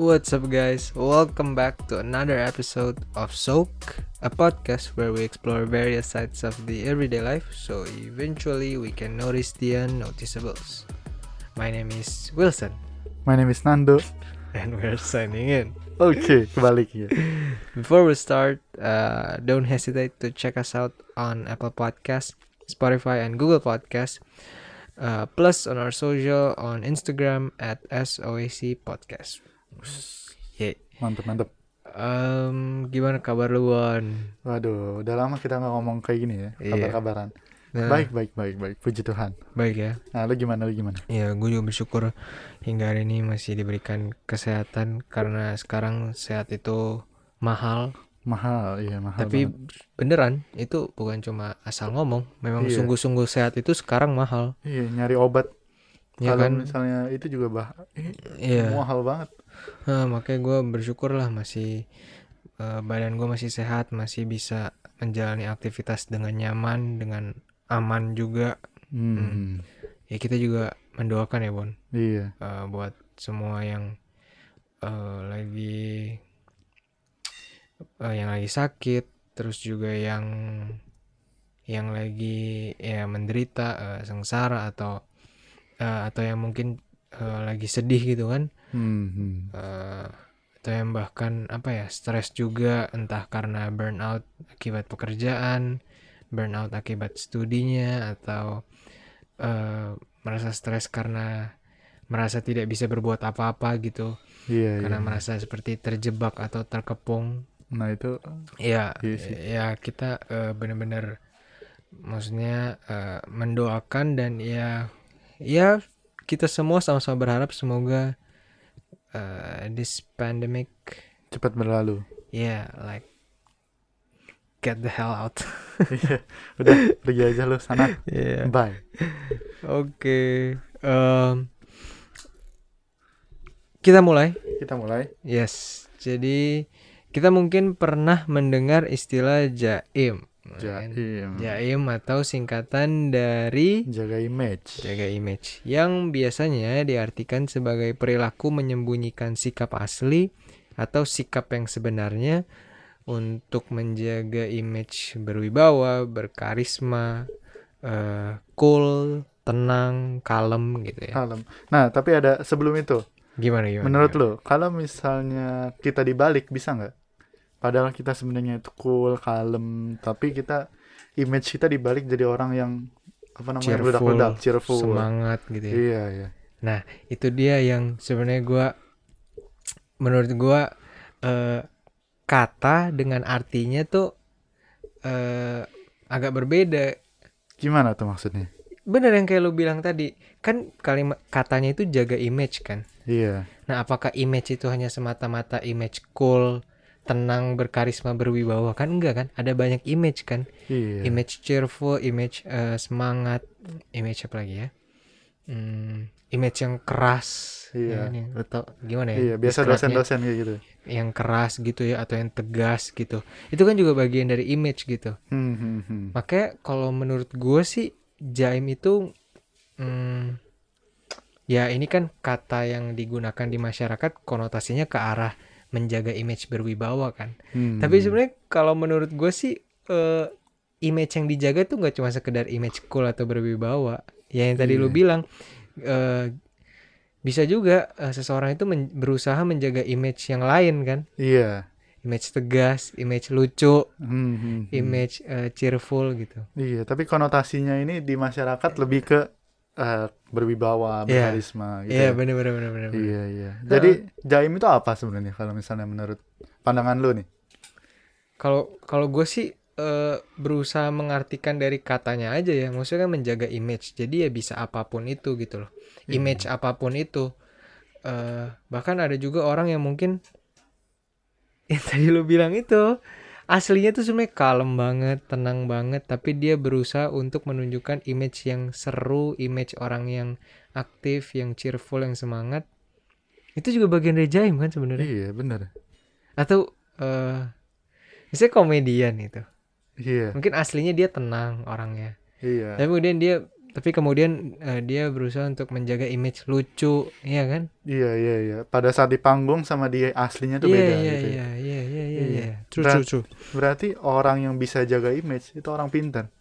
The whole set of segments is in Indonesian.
What's up, guys? Welcome back to another episode of Soak, a podcast where we explore various sides of the everyday life so eventually we can notice the unnoticeables. My name is Wilson, My name is Nando. and we're signing in. Oke, kebalik ya. Before we start, uh, don't hesitate to check us out on Apple Podcasts, Spotify, and Google Podcasts. Uh, plus on our social on Instagram at SOAC Podcast. Yeah. Mantep, mantep. Um, gimana kabar lu, Won? Waduh, udah lama kita nggak ngomong kayak gini ya, Iya. kabar-kabaran. Nah, Baik, baik, baik, baik. Puji Tuhan. Baik ya. Nah, lu gimana, lu gimana? Ya, gue juga bersyukur hingga hari ini masih diberikan kesehatan karena sekarang sehat itu mahal. Mahal, iya mahal. Tapi banget. beneran itu bukan cuma asal ngomong. Memang Iya. sungguh-sungguh sehat itu sekarang mahal. iya nyari obat. Ya Kalau kan? misalnya itu juga bah, eh, Iya. mahal banget. Nah, makanya gue bersyukur lah masih eh, badan gue masih sehat, masih bisa menjalani aktivitas dengan nyaman, dengan aman juga. Hmm. Ya kita juga mendoakan ya Bon Iya. eh, buat semua yang eh, lagi eh, yang lagi sakit, terus juga yang yang lagi ya menderita eh, sengsara atau eh, atau yang mungkin eh, lagi sedih gitu kan. Hmm, hmm. eh atau yang bahkan apa ya stres juga entah karena burnout akibat pekerjaan burnout akibat studinya atau eh, merasa stres karena merasa tidak bisa berbuat apa-apa gitu Iya, iya. karena merasa seperti terjebak atau terkepung Nah, itu ya Iya sih. ya kita eh, benar-benar maksudnya eh, mendoakan dan ya ya kita semua sama-sama berharap semoga eh, this pandemic cepat berlalu. ya like get the hell out Iya. udah, pergi aja lu sana. ya Bye. oke em, kita mulai Kita mulai. yes jadi kita mungkin pernah mendengar istilah jaim Hmm. Jaim. Jaim atau singkatan dari iya. Jaga image. jaga image yang biasanya diartikan sebagai perilaku menyembunyikan sikap asli atau sikap yang sebenarnya untuk menjaga image berwibawa, berkarisma, eh, cool, tenang, kalem gitu ya. Kalem. Nah, tapi ada sebelum itu. Gimana gimana? Menurut gimana? lo, kalau misalnya kita dibalik bisa nggak? Padahal kita sebenarnya itu cool, kalem, tapi kita image kita dibalik jadi orang yang apa namanya Cheerful, meledak-ledak, cheerful. semangat gitu ya. Iya, iya. itu dia yang sebenarnya gua menurut gua eh, kata dengan artinya tuh eh, agak berbeda Gimana tuh maksudnya? bener yang kayak lu bilang tadi kan kalimat katanya itu jaga image kan Iya. nah apakah image itu hanya semata-mata image cool tenang berkarisma berwibawa kan enggak kan ada banyak image kan Iya. image cheerful image eh, semangat image apa lagi ya Hmm, image yang keras Iya. Ini, lu tau gimana ya Iya, biasa istilahnya? dosen-dosen kayak gitu. yang keras gitu ya atau yang tegas gitu itu kan juga bagian dari image gitu Hmm, hmm, hmm. makanya kalau menurut gue sih jaim itu hmm, ya ini kan kata yang digunakan di masyarakat konotasinya ke arah menjaga image berwibawa kan Hmm. tapi sebenarnya kalau menurut gue sih eh, image yang dijaga tuh nggak cuma sekedar image cool atau berwibawa ya yang tadi lu Iya. bilang eh, bisa juga eh, seseorang itu men- berusaha menjaga image yang lain kan Iya. image tegas image lucu Hmm, hmm, hmm. image eh, cheerful gitu Iya, tapi konotasinya ini di masyarakat lebih ke eh, berwibawa, Iya. berkarisma gitu. Iya ya. bener bener bener bener. bener. Iya iya. Nah. Jadi jaim itu apa sebenarnya kalau misalnya menurut pandangan lu nih? Kalau kalau gue sih eh, berusaha mengartikan dari katanya aja ya, maksudnya kan menjaga image. Jadi ya bisa apapun itu gitu loh. Iya. Image apapun itu. Eh, bahkan ada juga orang yang mungkin yang tadi lu bilang itu aslinya tuh sebenarnya kalem banget, tenang banget, tapi dia berusaha untuk menunjukkan image yang seru, image orang yang aktif, yang cheerful, yang semangat. Itu juga bagian dari jaim kan sebenarnya. Iya bener. atau eh misalnya komedian itu Iya mungkin aslinya dia tenang orangnya Eh. iya. tapi kemudian dia tapi kemudian eh, dia berusaha untuk menjaga image lucu iya kan Iya iya iya. Pada saat di panggung sama dia aslinya tuh iya beda iya gitu. iya Ya. iya iya iya Iya. iya. true Berat. true true Berarti orang yang bisa jaga image itu orang pintar.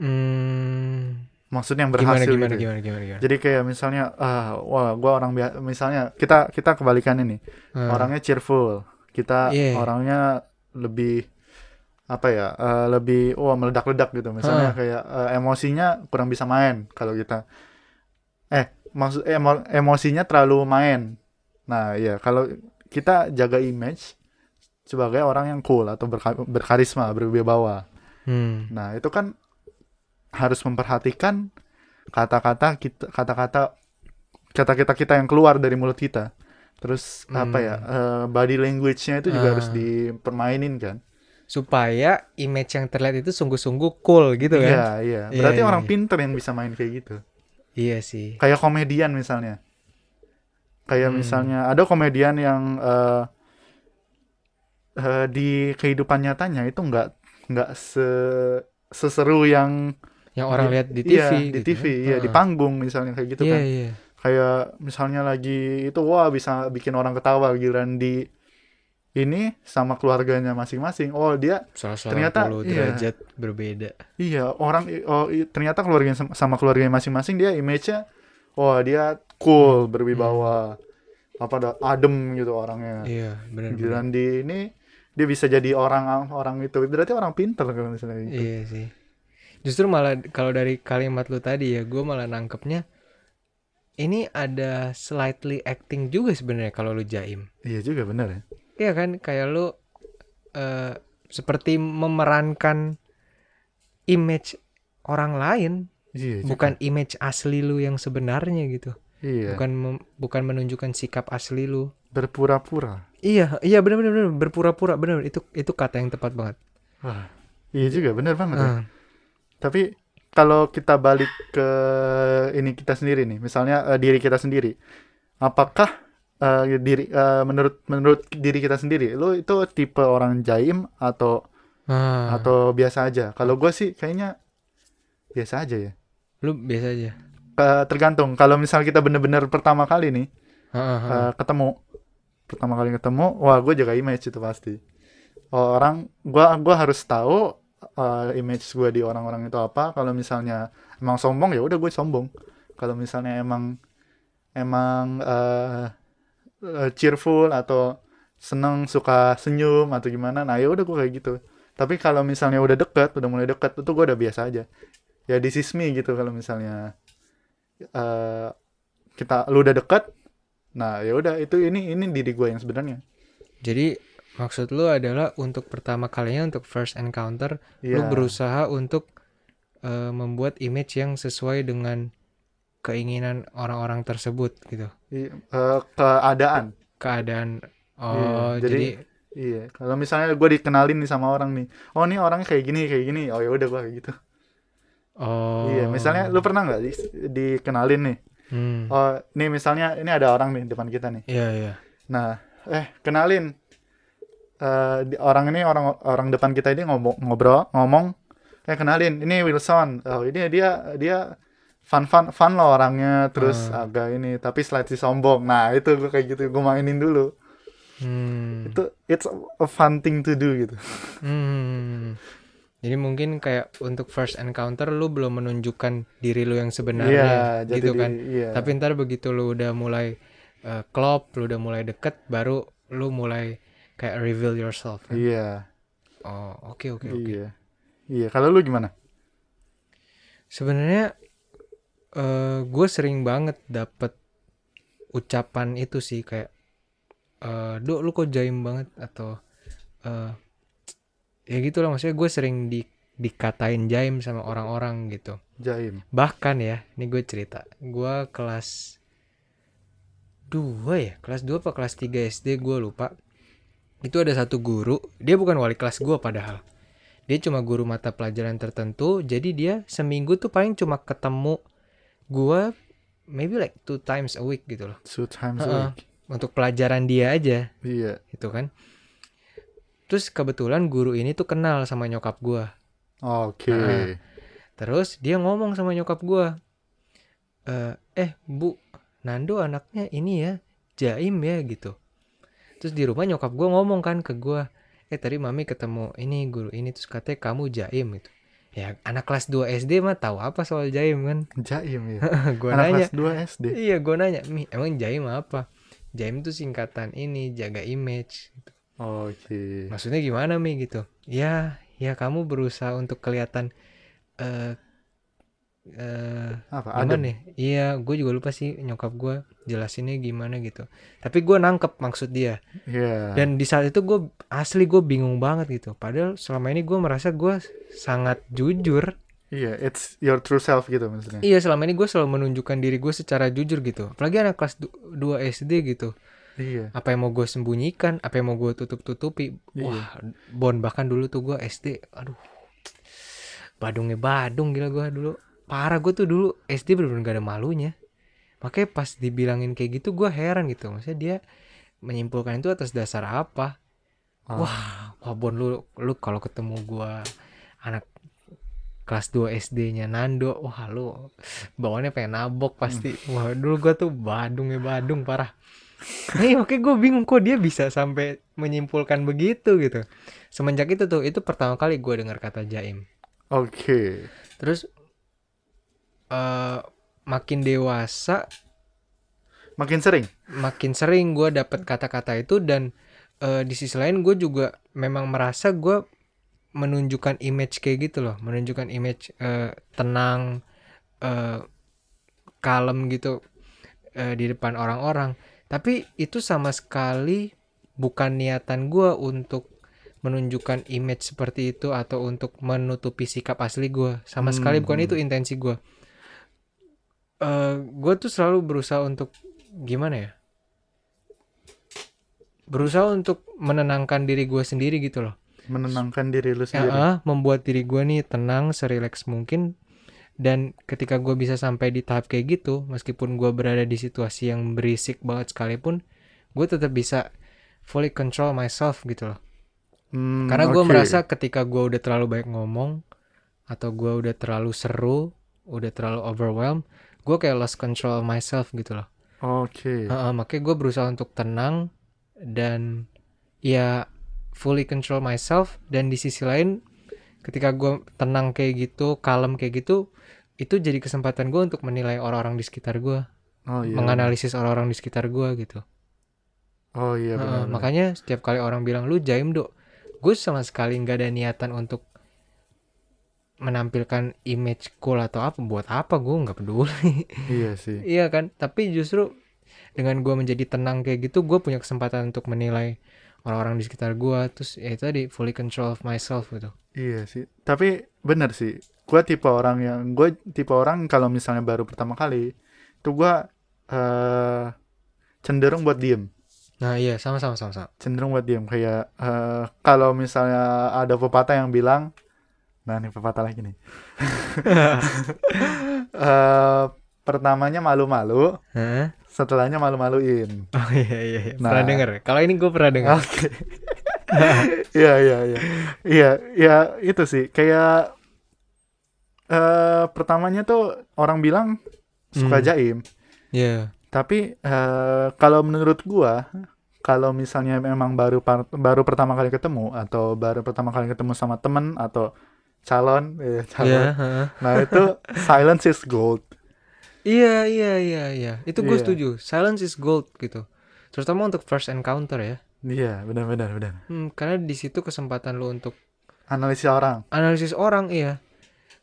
Hmm, Maksudnya yang gimana berhasil gimana gitu. ya. gimana gimana gimana Jadi kayak misalnya ah wah gua orang biasa misalnya kita kita kebalikan ini. Ah, Orangnya cheerful. Kita Iya. orangnya lebih apa ya? eh, lebih wah meledak-ledak gitu. Ah. Misalnya kayak eh, emosinya kurang bisa main kalau kita eh maksud emo- emosinya terlalu main. Nah, iya kalau kita jaga image sebagai orang yang cool atau berka- berkarisma, berwibawa. hmm. Nah, itu kan harus memperhatikan kata-kata kita kata-kata kata-kata kita yang keluar dari mulut kita. Terus apa ya? eh, body language-nya itu Hmm. Ah. juga harus dipermainin kan. supaya image yang terlihat itu sungguh-sungguh cool gitu Iya, kan iya. Iya, Berarti iya, orang iya. pinter yang bisa main kayak gitu. iya sih Kayak komedian misalnya. Kayak Hmm. misalnya ada komedian yang eh, eh, di kehidupan nyatanya itu nggak nggak se seseru yang yang orang Di- lihat di TV iya, di gitu TV, kan. iya, di Ah. panggung misalnya kayak gitu iya kan. iya kayak misalnya lagi itu wah bisa bikin orang ketawa giliran di ini sama keluarganya masing-masing oh dia Ternyata, 180 iya. derajat berbeda iya orang oh i- ternyata keluarganya sama- sama keluarganya masing-masing dia image-nya wah dia cool Hmm. berwibawa apa ada- adem gitu orangnya iya benar benar giliran di ini dia bisa jadi orang orang itu berarti orang pinter kalau misalnya gitu. Iya sih. Justru malah kalau dari kalimat lu tadi ya, gue malah nangkepnya ini ada slightly acting juga sebenarnya kalau lu jaim. iya juga bener ya Iya kan? Kayak lu eh, seperti memerankan image orang lain, iya juga. bukan image asli lu yang sebenarnya gitu. iya Bukan mem- bukan menunjukkan sikap asli lu. berpura-pura Iya, iya benar-benar benar. berpura-pura benar itu itu kata yang tepat banget. wah iya juga bener banget ya. Ah, Tapi kalau kita balik ke ini kita sendiri nih, misalnya eh, diri kita sendiri, apakah eh, diri eh, menurut menurut diri kita sendiri, lo itu tipe orang jaim atau ah. atau biasa aja? Kalau gue sih kayaknya biasa aja ya. lu biasa aja. Ke- tergantung. Kalau misal kita bener-bener pertama kali nih Ah, ah, ah. eh, ketemu, pertama kali ketemu, wah gue jaga image itu pasti. Orang gua gua harus tahu eh, image gue di orang-orang itu apa. Kalau misalnya emang sombong ya udah gue sombong. Kalau misalnya emang emang eh, eh, cheerful atau seneng suka senyum atau gimana, nah ya udah gue kayak gitu. Tapi kalau misalnya udah deket, udah mulai deket, itu gue udah biasa aja. Ya di sismi gitu kalau misalnya eh kita lu udah deket, nah ya udah itu ini ini diri gue yang sebenarnya. Jadi maksud lu adalah untuk pertama kalinya untuk first encounter lu Iya. berusaha untuk eh, membuat image yang sesuai dengan keinginan orang-orang tersebut gitu. I- eh, keadaan. Keadaan Iya, oh jadi- jadi, Iya. Kalau misalnya gue dikenalin nih sama orang nih, oh nih orangnya kayak gini kayak gini, oh ya udah gue kayak gitu. oh Iya. Misalnya lu pernah nggak di- dikenalin nih? hmm, Oh nih misalnya ini ada orang nih depan kita nih. iya iya. Nah eh kenalin Eh, di- orang ini orang orang depan kita ini ngomong ngobrol ngomong eh kenalin ini Wilson oh ini dia dia fun fun fun loh orangnya terus Hmm. agak ini tapi slightly sombong nah itu gue kayak gitu gue mainin dulu Hmm. itu it's a, a fun thing to do gitu hmm. Jadi mungkin kayak untuk first encounter lu belum menunjukkan diri lu yang Iya, sebenarnya jadi gitu di- kan. iya. Tapi ntar begitu lu udah mulai eh, klop, lu udah mulai deket, baru lu mulai kayak reveal yourself. kan? iya, Oh, oke oke oke. iya. Iya, kalau lu gimana? Sebenarnya gue sering banget dapet ucapan itu sih kayak, eh "Dok, lu kok jaim banget?" atau eh, ya gitu lah. Maksudnya gue sering di- dikatain jaim sama orang-orang gitu. Jaim. bahkan ya ini gue cerita gue kelas 2 ya kelas 2 apa kelas 3 SD gue lupa itu ada satu guru dia bukan wali kelas gue padahal dia cuma guru mata pelajaran tertentu jadi dia seminggu tuh paling cuma ketemu gue maybe like two times a week gitu loh Two times a Heeh. week. untuk pelajaran dia aja Iya. gitu kan terus kebetulan guru ini tuh kenal sama nyokap gue Oke. Heeh. Terus dia ngomong sama nyokap gua. "Eh, eh, Bu, Nando anaknya ini ya, Jaim ya gitu. Terus di rumah nyokap gua ngomong kan ke gua, "Eh, tadi Mami ketemu ini guru ini terus katanya kamu Jaim gitu." Ya, anak kelas 2 SD mah tahu apa soal Jaim kan. Jaim ya. gua Anak nanya, kelas 2 SD. Iya, gue nanya, "Mi, emang Jaim apa?" Jaim tuh singkatan ini, jaga image. gitu. Oke. Maksudnya gimana, Mi gitu? Ya, ya kamu berusaha untuk kelihatan eh eh Apa? gimana Adem. ya? Iya, gue juga lupa sih nyokap gue jelasinnya gimana gitu. Tapi gue nangkep maksud dia. Iya. Dan di saat itu gue asli gue bingung banget gitu. Padahal selama ini gue merasa gue sangat jujur. Iya, it's your true self gitu maksudnya. Iya, selama ini gue selalu menunjukkan diri gue secara jujur gitu. Apalagi anak kelas 2 SD gitu. Iya. apa yang mau gue sembunyikan apa yang mau gue tutup tutupi wah bon bahkan dulu tuh gue sd aduh badungnya badung gila gue dulu parah gue tuh dulu sd bener-bener gak ada malunya makanya pas dibilangin kayak gitu gue heran gitu maksudnya dia menyimpulkan itu atas dasar apa Ah. wah wah bon lu lu kalau ketemu gue anak kelas 2 SD-nya Nando wah lu bawaannya pengen nabok pasti Hmm. wah dulu gue tuh badung ya badung parah Nih makanya gue bingung kok dia bisa sampai menyimpulkan begitu gitu. Semenjak itu tuh, itu pertama kali gue dengar kata jaim. Oke. Terus eh makin dewasa, Makin sering. makin sering gue dapet kata-kata itu dan eh, di sisi lain gue juga memang merasa gue menunjukkan image kayak gitu loh, menunjukkan image eh, tenang, eh, kalem gitu eh, di depan orang-orang. Tapi itu sama sekali bukan niatan gue untuk menunjukkan image seperti itu atau untuk menutupi sikap asli gue. Sama sekali Hmm. bukan itu intensi gue. gue tuh selalu berusaha untuk gimana ya? Berusaha untuk menenangkan diri gue sendiri gitu loh. Menenangkan diri lu Ya, sendiri. ah, membuat diri gue nih tenang, serileks mungkin. Dan ketika gue bisa sampai di tahap kayak gitu, meskipun gue berada di situasi yang berisik banget sekalipun, gue tetap bisa fully control myself gitu loh. Hmm, Karena gue oke. merasa ketika gue udah terlalu banyak ngomong, atau gue udah terlalu seru, udah terlalu overwhelmed, gue kayak lost control myself gitu loh. Oke. Heeh, makanya gue berusaha untuk tenang dan ya fully control myself dan di sisi lain ketika gue tenang kayak gitu, kalem kayak gitu, itu jadi kesempatan gue untuk menilai orang-orang di sekitar gue, Oh iya. menganalisis orang-orang di sekitar gue gitu. Oh iya Heeh, benar. makanya setiap kali orang bilang lu jaim dok, gue sama sekali nggak ada niatan untuk menampilkan image cool atau apa buat apa gue nggak peduli. Iya sih. Iya kan, tapi justru dengan gua menjadi tenang kayak gitu, gue punya kesempatan untuk menilai orang-orang di sekitar gua terus ya itu tadi fully control of myself gitu. Iya sih, tapi bener sih. Gue tipe orang yang gue tipe orang kalau misalnya baru pertama kali, tuh gue eh cenderung buat diem, Nah iya sama sama sama sama. cenderung buat diem. Kayak eh, kalau misalnya ada pepatah yang bilang, nah ini pepatah lagi nih. Eh, pertamanya malu-malu, Hah? setelahnya malu-maluin. Oh iya iya, iya. Nah. pernah denger. Kalau ini gue pernah denger. Oke. Iya iya iya. Iya iya itu sih kayak eh pertamanya tuh orang bilang suka Hmm. jaim, Iya. tapi eh kalau menurut gua kalau misalnya memang baru par- baru pertama kali ketemu atau baru pertama kali ketemu sama temen atau calon, Iya, eh, calon. heeh. Nah itu silence is gold. Iya iya iya iya. Itu gue Iya. setuju. Silence is gold gitu. Terutama untuk first encounter ya. Iya benar-benar benar. Hmm, karena di situ kesempatan lu untuk Analisa orang. analisis orang iya.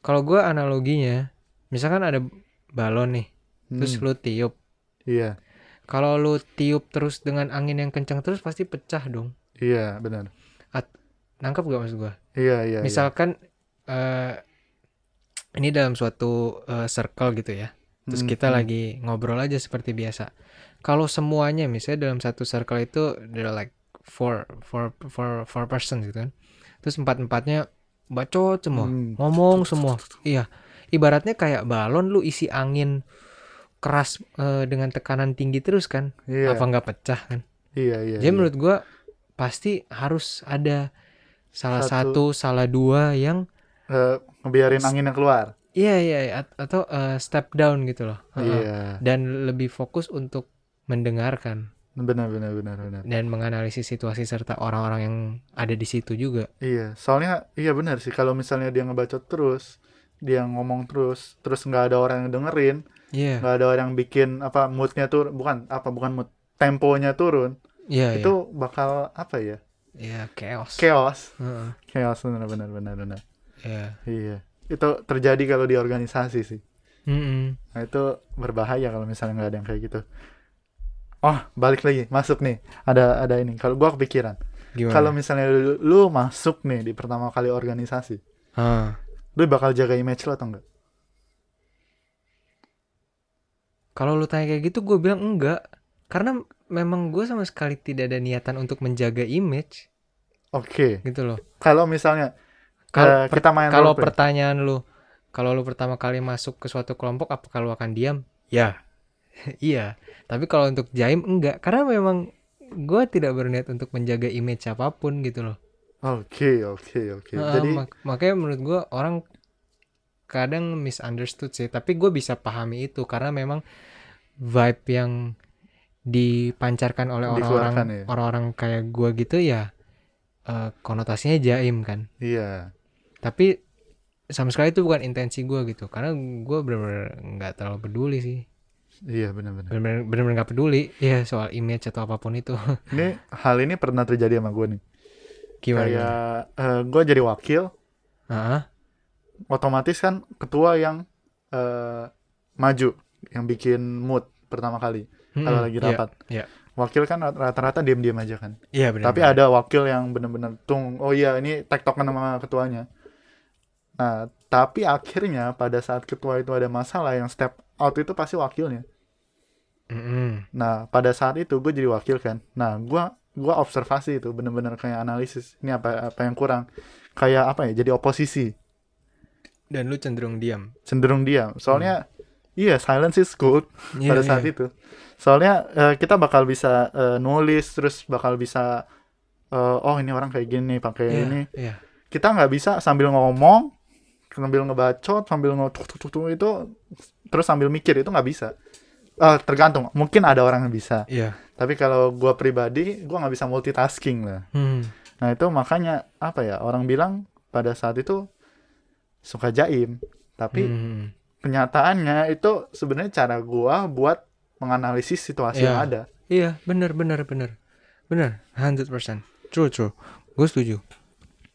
Kalau gua analoginya, misalkan ada balon nih, terus Hmm, lu tiup. Iya Kalau lu tiup terus dengan angin yang kencang terus pasti pecah dong. iya benar. Nangkap gak maksud gua? Iya iya. iya. Misalkan eh ini dalam suatu eh, circle gitu ya. Terus Hmm, kita hmm. lagi ngobrol aja seperti biasa. Kalau semuanya misalnya dalam satu circle itu there are like four four four four person gitu kan. Terus empat-empatnya bacot semua, Hmm. ngomong semua. Iya. Ibaratnya kayak balon lu isi angin keras eh, dengan tekanan tinggi terus kan. Iya Apa nggak pecah kan? iya iya. Jadi iya. menurut gua pasti harus ada salah Satu. satu, salah dua yang Eh, ngebiarin anginnya keluar. iya iya iya. At- atau eh, step down gitu loh Heeh. Iya. dan lebih fokus untuk mendengarkan Benar benar benar benar. dan menganalisis situasi serta orang-orang yang ada di situ juga Iya, soalnya iya benar sih kalau misalnya dia ngebacot terus, dia ngomong terus, terus nggak ada orang yang dengerin, iya nggak ada orang yang bikin apa moodnya turun, bukan apa bukan mood, temponya turun, iya iya. itu bakal apa ya? iya chaos Chaos, Heeh. chaos benar benar benar benar. iya Iya, itu terjadi kalau di organisasi sih. Mm-mm. Nah itu berbahaya kalau misalnya nggak ada yang kayak gitu. Oh balik lagi masuk nih ada ada ini. Kalau gua kepikiran, gimana kalau misalnya lu, lu masuk nih di pertama kali organisasi, Heeh. lu bakal jaga image lu atau enggak? Kalau lu tanya kayak gitu, gue bilang enggak. Karena memang gue sama sekali tidak ada niatan untuk menjaga image Oke. gitu loh. Kalau misalnya Kalau eh, kita main kalau roleplay. pertanyaan lu, kalau lu pertama kali masuk ke suatu kelompok, apakah lu akan diam? Ya, iya. Tapi kalau untuk jaim enggak, karena memang gue tidak berniat untuk menjaga image apapun gitu loh. Oke, oke, oke. Eh, Jadi mak- makanya menurut gue orang kadang misunderstood sih. Tapi gue bisa pahami itu karena memang vibe yang dipancarkan oleh Dikeluarkan, orang-orang ya. orang-orang kayak gue gitu ya eh, konotasinya jaim kan. iya. Tapi sama sekali itu bukan intensi gue gitu karena gue bener-bener nggak terlalu peduli sih Iya, benar-benar. bener-bener bener-bener nggak peduli ya soal image atau apapun itu Ini hal ini pernah terjadi sama gue nih. gimana gimana? Kayak gue jadi wakil, Ah, otomatis kan ketua yang eh, maju, yang bikin mood pertama kali mm-mm, kalau lagi iya, rapat. iya. Wakil kan rata-rata diam-diam aja kan. iya bener Tapi ada wakil yang benar-benar tung, oh iya ini tektokan sama ketuanya. Nah, tapi akhirnya pada saat ketua itu ada masalah yang step out itu pasti wakilnya. Nah, pada saat itu gue jadi wakil kan. Nah, gue gua observasi itu bener-bener kayak analisis. Ini apa apa yang kurang. Kayak apa ya? Jadi oposisi, dan lu cenderung diam cenderung diam. Soalnya iya, silence is good Iya, pada saat itu. Soalnya eh, kita bakal bisa eh, nulis terus bakal bisa eh, oh ini orang kayak gini pakai Iya, ini. iya. Kita nggak bisa sambil ngomong, sambil ngebacot, sambil ngotuk tuk tuk tuk itu terus sambil mikir itu nggak bisa. Eh, tergantung, mungkin ada orang yang bisa. Iya. Tapi kalau gua pribadi, gua nggak bisa multitasking lah. Hmm. Nah itu makanya apa ya orang bilang pada saat itu suka jaim. Tapi Hmm. kenyataannya itu sebenarnya cara gua buat menganalisis situasi Iya. yang ada. Iya, benar benar benar. Benar, 100%. True true. Gue setuju.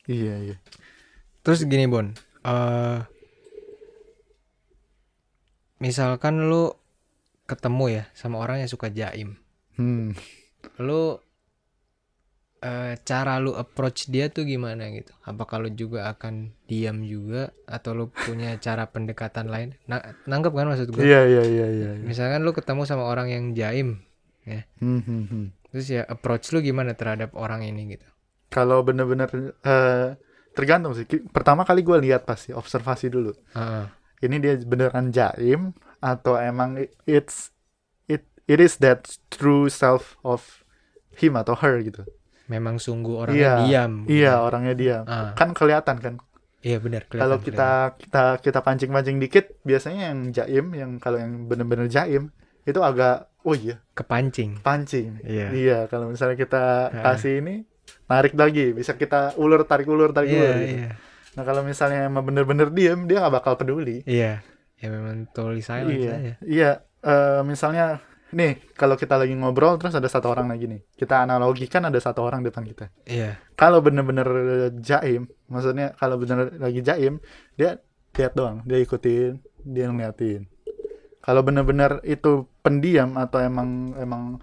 Iya iya. Terus gini, Bon. Eh misalkan lu ketemu ya sama orang yang suka jaim. Hmm. Lu eh cara lu approach dia tuh gimana gitu? Apakah lu juga akan diam juga atau lu punya cara pendekatan lain? Na- nangkep kan maksud gue? Iya iya iya iya. iya. Misalkan lu ketemu sama orang yang jaim, Hmm, hmm, hmm. Terus ya approach lu gimana terhadap orang ini gitu? Kalau bener-bener eh, tergantung sih. Ki- Pertama kali gua lihat pasti observasi dulu. Heeh. Ini dia beneran jaim atau emang i- it's it it is that true self of him atau her gitu. Memang sungguh orang Iya, diam. gitu. Iya orangnya dia. Ah, Kan kelihatan kan. iya benar. Hmm. kelihatan, Kalau kita kita kita pancing-pancing dikit, biasanya yang jaim, yang kalau yang bener-bener jaim itu agak, oh iya kelihatan. kepancing. pancing. Iya. Iya kalau misalnya kita Ah. kasih ini, tarik lagi, bisa kita ulur tarik ulur tarik Iya, ulur. gitu. iya. Nah kalau misalnya emang bener-bener diem, dia nggak bakal peduli. Iya. Ya memang totally silent iya, aja. iya. Eh, misalnya nih kalau kita lagi ngobrol terus ada satu orang lagi nih, kita analogikan ada satu orang depan kita. Iya. kalau bener-bener jaim maksudnya kalau bener lagi jaim dia lihat doang dia ikutin dia ngeliatin kalau bener-bener itu pendiam atau emang emang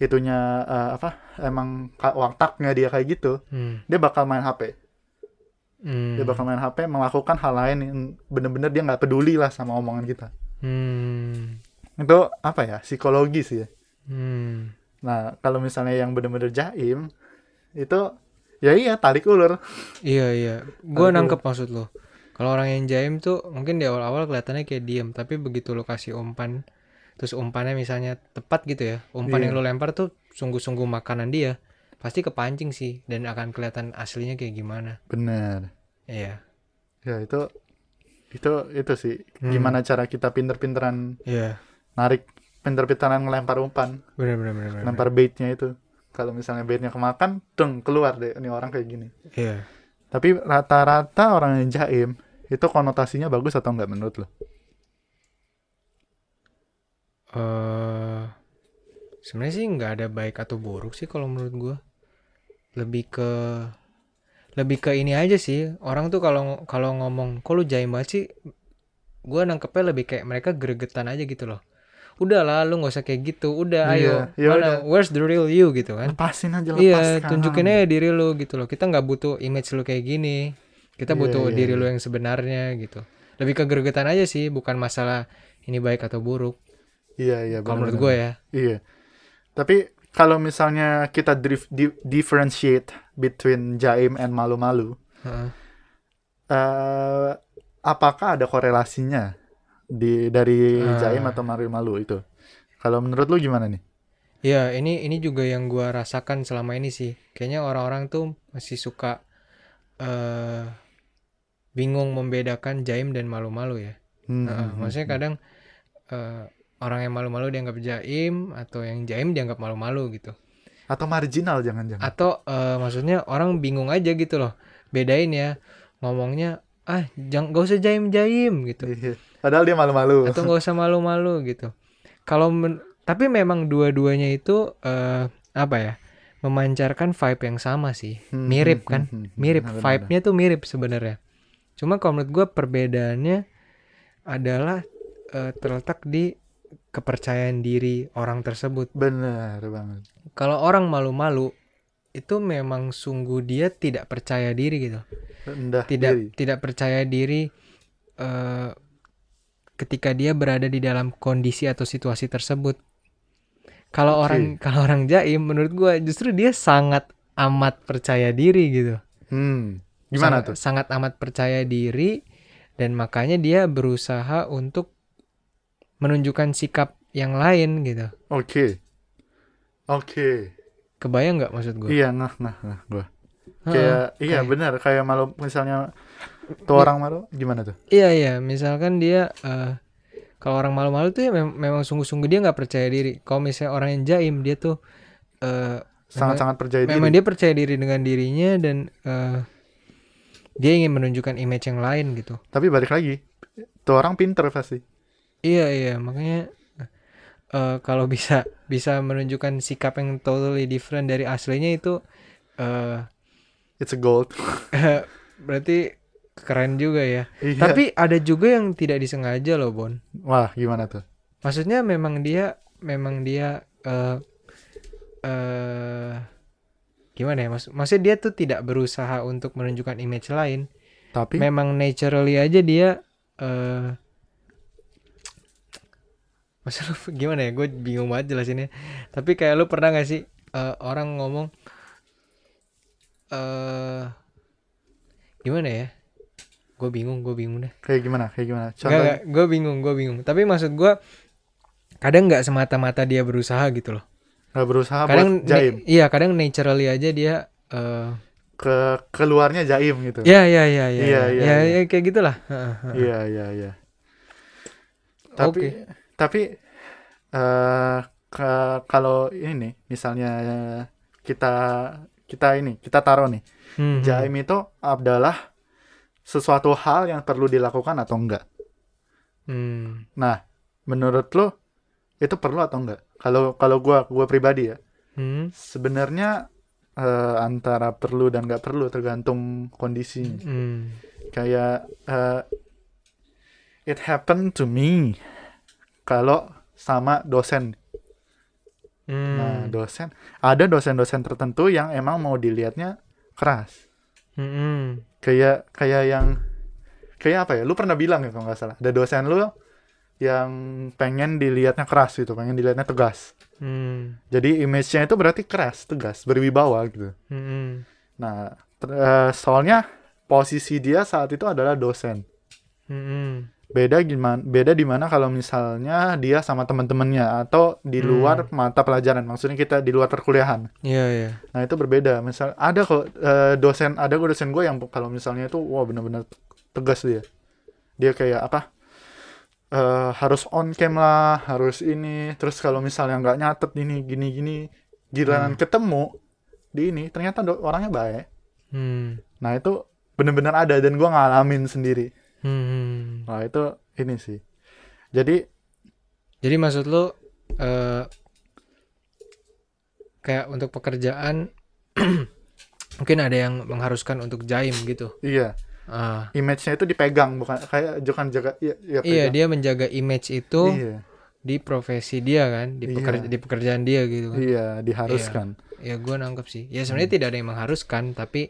itunya eh, apa emang ka- wataknya dia kayak gitu Hmm. dia bakal main HP Hmm. dia bakal main HP melakukan hal lain yang bener-bener dia nggak peduli lah sama omongan kita Hmm. itu apa ya psikologis ya Hmm. nah kalau misalnya yang bener-bener jaim itu ya iya tarik ulur Iya, iya. Gua Aduh. nangkep maksud lu. Kalau orang yang jaim tuh mungkin di awal-awal kelihatannya kayak diem, tapi begitu lu kasih umpan, terus umpannya misalnya tepat gitu ya, umpan yang Iya. lu lempar tuh sungguh-sungguh makanan dia, pasti kepancing sih dan akan kelihatan aslinya kayak gimana. bener Iya. ya itu itu itu sih gimana cara kita pinter-pinteran Iya. narik pinter-pinteran ngelempar umpan Benar benar benar. benar. lempar baitnya itu kalau misalnya baitnya kemakan deng keluar deh ini orang kayak gini Iya. tapi rata-rata orang yang jaim itu konotasinya bagus atau enggak menurut lo eh sebenarnya sih nggak ada baik atau buruk sih kalau menurut gua lebih ke lebih ke ini aja sih orang tuh kalau kalau ngomong kok lu jaim banget sih gue nangkepnya lebih kayak mereka gregetan aja gitu loh udahlah lu nggak usah kayak gitu udah Iya, ayo ya mana where's the real you gitu kan lepasin aja iya lepaskan tunjukin aja diri lu gitu loh kita nggak butuh image lu kayak gini kita Iya, butuh iya, diri lu yang sebenarnya gitu lebih ke gregetan aja sih bukan masalah ini baik atau buruk iya iya kalau benar, menurut benar. gue ya iya tapi kalau misalnya kita drift, di- differentiate between jaim and malu-malu Heeh. eh apakah ada korelasinya di dari Ah. jaim atau malu-malu itu kalau menurut lu gimana nih Ya, ini ini juga yang gua rasakan selama ini sih. Kayaknya orang-orang tuh masih suka eh bingung membedakan jaim dan malu-malu ya. Hmm, Heeh, hmm, maksudnya kan hmm. kadang eh, orang yang malu-malu dianggap jaim atau yang jaim dianggap malu-malu gitu. atau marginal jangan-jangan Atau eh, maksudnya orang bingung aja gitu loh. Bedain ya ngomongnya ah jangan gak usah jaim-jaim gitu. Iya. padahal dia malu-malu atau nggak usah malu-malu gitu. Kalau men- tapi memang dua-duanya itu eh apa ya? memancarkan vibe yang sama sih. Hmm, Mirip hmm, kan? hmm, hmm. Mirip Benar, benar. vibe-nya tuh mirip sebenarnya. Cuma kalau menurut gua perbedaannya adalah eh, terletak di kepercayaan diri orang tersebut. Benar banget. Kalau orang malu-malu itu memang sungguh dia tidak percaya diri gitu Rendah tidak diri. tidak percaya diri eh, ketika dia berada di dalam kondisi atau situasi tersebut. Kalau Oke. orang kalau orang jaim menurut gua justru dia sangat amat percaya diri gitu. Hmm. sangat, Gimana tuh? Sangat amat percaya diri dan makanya dia berusaha untuk menunjukkan sikap yang lain gitu. Oke. Oke. Kebayang nggak maksud gua? Iya, nah nah nah gua. Heeh. Kayak iya kayak- gitu. benar kayak malu misalnya tuh orang malu gimana tuh? Iya iya, misalkan dia eh kalau orang malu-malu tuh ya mem- memang sungguh-sungguh dia nggak percaya diri. Kalau misalnya orang yang jaim dia tuh eh Sangat-sangat percaya memang diri. dia percaya diri dengan dirinya dan eh dia ingin menunjukkan image yang lain gitu. Tapi balik lagi, tuh orang pinter pasti. Iya iya, makanya eh kalau bisa bisa menunjukkan sikap yang totally different dari aslinya itu eh It's a gold. berarti keren juga ya. Iya. Tapi ada juga yang tidak disengaja loh, Bon. wah, gimana tuh? maksudnya memang dia memang dia eh eh, gimana ya maksud maksudnya dia tuh tidak berusaha untuk menunjukkan image lain Tapi memang naturally aja dia eh maksud lu gimana ya gue bingung banget jelasinnya tapi kayak lu pernah gak sih eh, orang ngomong eh gimana ya gue bingung gue bingung deh kayak gimana? Kayak gimana? Enggak, Contoh. enggak. Gue bingung, gue bingung. Tapi maksud gue, kadang nggak semata-mata dia berusaha gitu loh. nggak berusaha Kadang Ah, buat jaim. na- iya, kadang naturally aja dia. eh Ke keluarnya jaim gitu. ya, ya, ya, ya, Iya, ya, iya, ya, iya. ya, kayak gitulah. Heeh, heeh. Iya, iya, iya. Tapi tapi eh ke- kalau ini nih, misalnya kita kita ini, kita taruh nih, Hmm, hmm. jaim itu adalah sesuatu hal yang perlu dilakukan atau enggak. Hmm. Nah, menurut lo itu perlu atau enggak? Kalau kalau gua gua pribadi ya, Hmm. sebenarnya eh, antara perlu dan nggak perlu tergantung kondisinya. Hmm. kayak eh, it happened to me kalau sama dosen. Hmm. Nah, dosen ada dosen-dosen tertentu yang emang mau dilihatnya keras. Hmm, hmm. Kayak kayak yang kayak apa ya? Lu pernah bilang ya kalau nggak salah. Ada dosen lu yang pengen dilihatnya keras gitu, pengen dilihatnya tegas. Hmm. Jadi image-nya itu berarti keras, tegas, berwibawa gitu. Hmm, hmm. Nah, ter- eh, soalnya posisi dia saat itu adalah dosen. Hmm, hmm. beda gimana beda di mana kalau misalnya dia sama teman-temannya atau di Hmm. luar mata pelajaran maksudnya kita di luar perkuliahan Iya, iya. nah itu berbeda misal ada kok eh, dosen ada gue dosen gue yang kalau misalnya itu wah benar-benar tegas dia dia kayak apa eh, harus on cam lah harus ini terus kalau misalnya nggak nyatet ini gini gini giliran ketemu di ini ternyata do- orangnya baik Hmm. nah itu bener-bener ada dan gua ngalamin sendiri Hmm. nah itu ini sih jadi Jadi maksud lu eh kayak untuk pekerjaan mungkin ada yang mengharuskan untuk jaim gitu. iya Ah. image-nya itu dipegang bukan kayak jangan jaga iya iya, Iya, pegang. dia menjaga image itu iya di profesi dia kan, di Iya. pekerja di pekerjaan dia gitu kan. iya diharuskan Ya gue nangkep sih. Ya sebenarnya tidak ada yang mengharuskan, tapi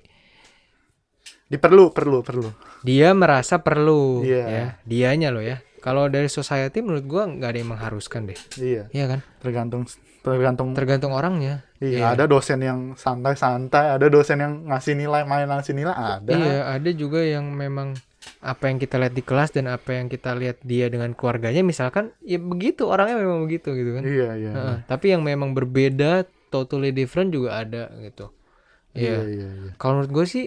diperlu perlu perlu dia merasa perlu Iya. ya. Dianya loh ya. Kalau dari society menurut gua nggak ada yang mengharuskan deh. iya Iya kan? tergantung tergantung Tergantung orangnya. Iya, ada dosen yang santai-santai, ada dosen yang ngasih nilai, main ngasih nilai, ada. Iya, ada juga yang memang apa yang kita lihat di kelas dan apa yang kita lihat dia dengan keluarganya misalkan ya begitu orangnya memang begitu gitu kan. Iya, iya. Heeh, tapi yang memang berbeda totally different juga ada gitu. Iya. Iya, iya, iya. Kalau menurut gue sih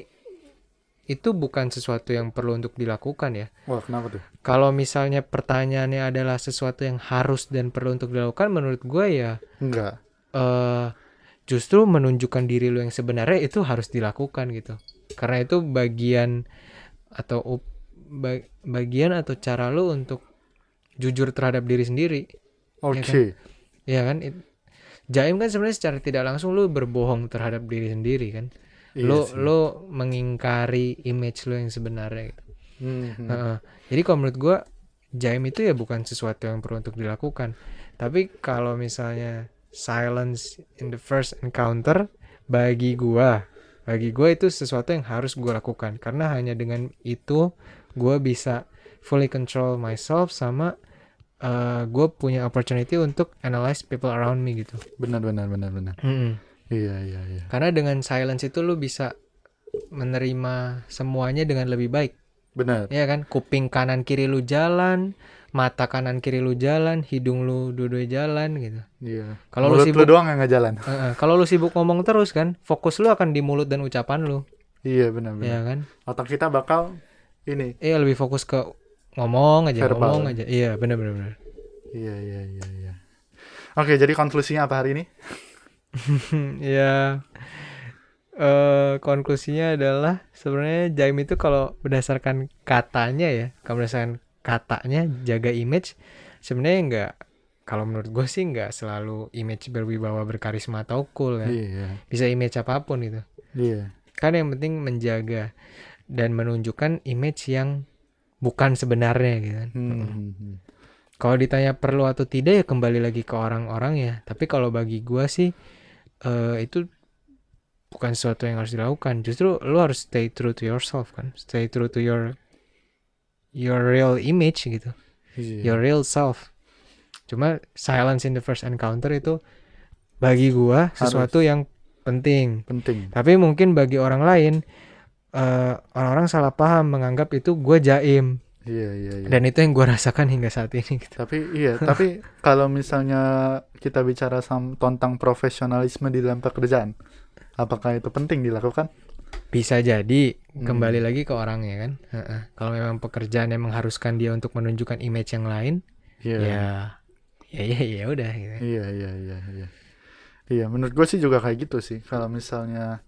itu bukan sesuatu yang perlu untuk dilakukan ya. Wah, kenapa tuh? Kalau misalnya pertanyaannya adalah sesuatu yang harus dan perlu untuk dilakukan menurut gue ya Enggak. eh justru menunjukkan diri lu yang sebenarnya itu harus dilakukan gitu karena itu bagian atau up- ba- bagian atau cara lu untuk jujur terhadap diri sendiri Oke. ya Iya kan It- jaim kan sebenarnya secara tidak langsung lu berbohong terhadap diri sendiri kan Iya lu sih. lu mengingkari image lu yang sebenarnya gitu. Hmm, hmm. Heeh. Jadi kalau menurut gua jaim itu ya bukan sesuatu yang perlu untuk dilakukan. Tapi kalau misalnya silence in the first encounter bagi gua, bagi gua itu sesuatu yang harus gua lakukan karena hanya dengan itu gua bisa fully control myself sama eh, gua punya opportunity untuk analyze people around me gitu. Benar, benar, benar, benar. Mm-mm. Iya, iya, iya. Karena dengan silence itu lu bisa menerima semuanya dengan lebih baik. Benar. Iya kan, kuping kanan kiri lu jalan, mata kanan kiri lu jalan, hidung lu dua-dua jalan gitu. Iya. Kalau lu Mulut sibuk, doang yang nggak jalan. Heeh, kalau lu sibuk ngomong terus kan, fokus lu akan di mulut dan ucapan lu, Iya, benar, benar. Iya kan? Otak kita bakal ini. Iya lebih fokus ke ngomong aja, Verbal. ngomong aja. Iya benar-benar. Iya, iya, iya, iya. Oke, jadi konklusinya apa hari ini? Iya. Eh konklusinya adalah sebenarnya jaim itu kalau berdasarkan katanya ya, kalau berdasarkan katanya jaga image sebenarnya enggak kalau menurut gue sih nggak selalu image berwibawa berkarisma atau cool ya. Iya. Bisa image apapun gitu. Iya. Kan yang penting menjaga dan menunjukkan image yang bukan sebenarnya gitu kan. Hmm, hmm, hmm. Kalau ditanya perlu atau tidak ya kembali lagi ke orang-orang ya. Tapi kalau bagi gua sih eh, itu bukan sesuatu yang harus dilakukan. Justru lu harus stay true to yourself kan. Stay true to your your real image gitu. Iya. Your real self. Cuma silence in the first encounter itu bagi gua sesuatu yang penting. Penting. Tapi mungkin bagi orang lain eh, orang-orang salah paham menganggap itu gua jaim Iya, iya, iya. dan itu yang gua rasakan hingga saat ini gitu. Tapi iya, tapi kalau misalnya kita bicara sam- tentang profesionalisme di dalam pekerjaan, apakah itu penting dilakukan? Bisa jadi kembali lagi ke orangnya kan. Heeh. Kalau memang pekerjaan yang mengharuskan dia untuk menunjukkan image yang lain, Iya. ya ya ya ya udah gitu. Iya, iya, iya, iya. Iya, menurut gue sih juga kayak gitu sih. Kalau misalnya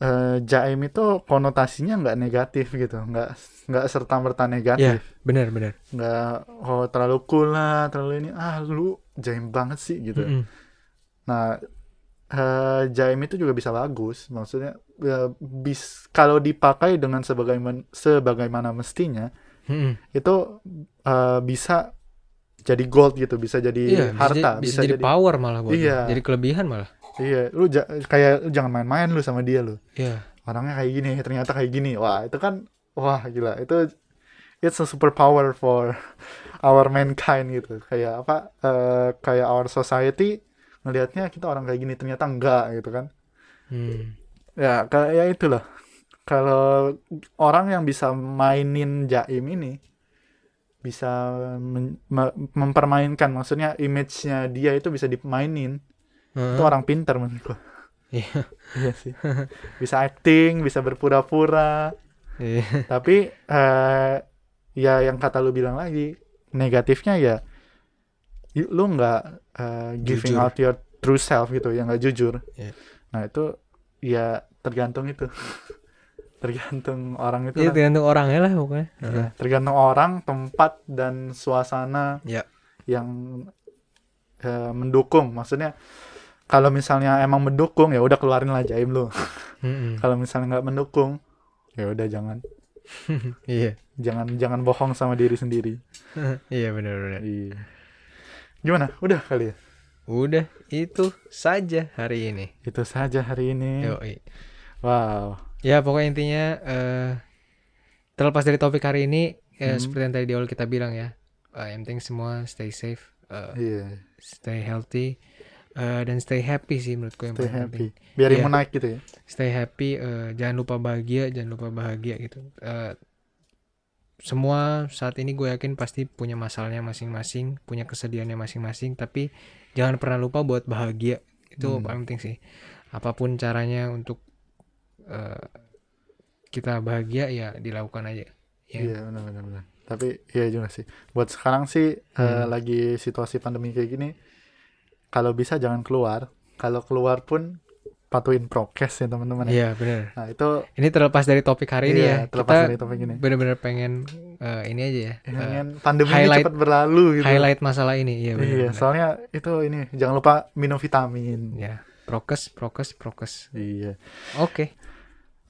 eh, jaim itu konotasinya nggak negatif gitu, nggak nggak serta merta Ya, negatif, benar benar. nggak oh terlalu cool lah, terlalu ini ah lu jaim banget sih gitu. Mm-mm. Nah, eh, jaim itu juga bisa bagus. Maksudnya eh, bis kalau dipakai dengan sebagaimana sebagaimana mestinya Mm-mm. itu eh, bisa jadi gold gitu, bisa jadi Iya, bisa harta, jadi- bisa, jadi, power malah buat. Iya. dia. Jadi kelebihan malah. Iya, lu ja- kayak lu jangan main-main lu sama dia lu. Iya. Orangnya kayak gini, ternyata kayak gini. Wah, itu kan wah gila. Itu it's a superpower for our mankind gitu. Kayak apa? eh, kayak our society ngelihatnya kita orang kayak gini ternyata enggak gitu kan. Hmm. Ya, kayak itulah. Kalau orang yang bisa mainin Jaim ini bisa men- me- mempermainkan maksudnya image-nya dia itu bisa dimainin. Itu Heeh. orang pintar menurut gua. Iya. Iya sih. Bisa acting, bisa berpura-pura, Iya. tapi eh ya yang kata lu bilang lagi negatifnya ya i- lu nggak uh, giving Jujur. out your true self gitu yang nggak jujur Iya. nah itu ya tergantung itu tergantung orang itu Iya lah. tergantung orangnya lah pokoknya. Iya, tergantung orang tempat dan suasana Iya. yang eh, mendukung maksudnya kalau misalnya emang mendukung ya udah keluarin lah jaim lu Hmm. Mm-mm. kalau misalnya nggak mendukung ya udah jangan Iya. jangan jangan bohong sama diri sendiri Iya benar-benar. Iya. Gimana? Udah kali ya? Udah itu saja hari ini. Itu saja hari ini. Yoi. Wow. Ya pokoknya intinya eh terlepas dari topik hari ini eh, Hmm. seperti yang tadi di awal kita bilang ya. eh, yang penting semua stay safe, eh, Iya, stay healthy eh, dan stay happy sih menurutku yang stay paling happy. penting. Biar Iya. imun naik gitu ya. Stay happy, eh, jangan lupa bahagia, jangan lupa bahagia gitu. Eh, semua saat ini gue yakin pasti punya masalahnya masing-masing, punya kesedihannya masing-masing, tapi jangan pernah lupa buat bahagia. Itu Hmm. paling penting sih. Apapun caranya untuk eh, kita bahagia ya dilakukan aja. Iya. Iya, benar benar benar. Tapi iya juga sih. Buat sekarang sih eh, Hmm. lagi situasi pandemi kayak gini kalau bisa jangan keluar. Kalau keluar pun patuhin prokes ya teman-teman. ya. Iya, bener Nah, itu Ini terlepas dari topik hari ini ya. iya, terlepas kita dari topik ini. bener-bener pengen eh, ini aja ya. eh, Ingin pandemi ini highlight- cepat berlalu gitu. highlight masalah ini ya Iya, soalnya itu ini jangan lupa minum vitamin. Ya, prokes, prokes, prokes. Iya. Oke.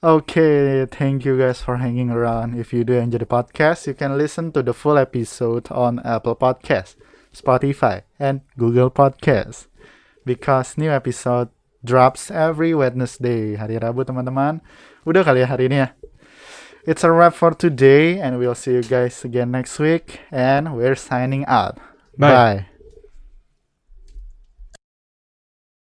Okay, thank you guys for hanging around. If you do enjoy the podcast, you can listen to the full episode on Apple Podcasts, Spotify, and Google Podcasts. Because new episode drops every Wednesday. Hari Rabu, teman-teman. Udah kali ya hari ini ya. It's a wrap for today, and we'll see you guys again next week. And we're signing out. Bye. Bye.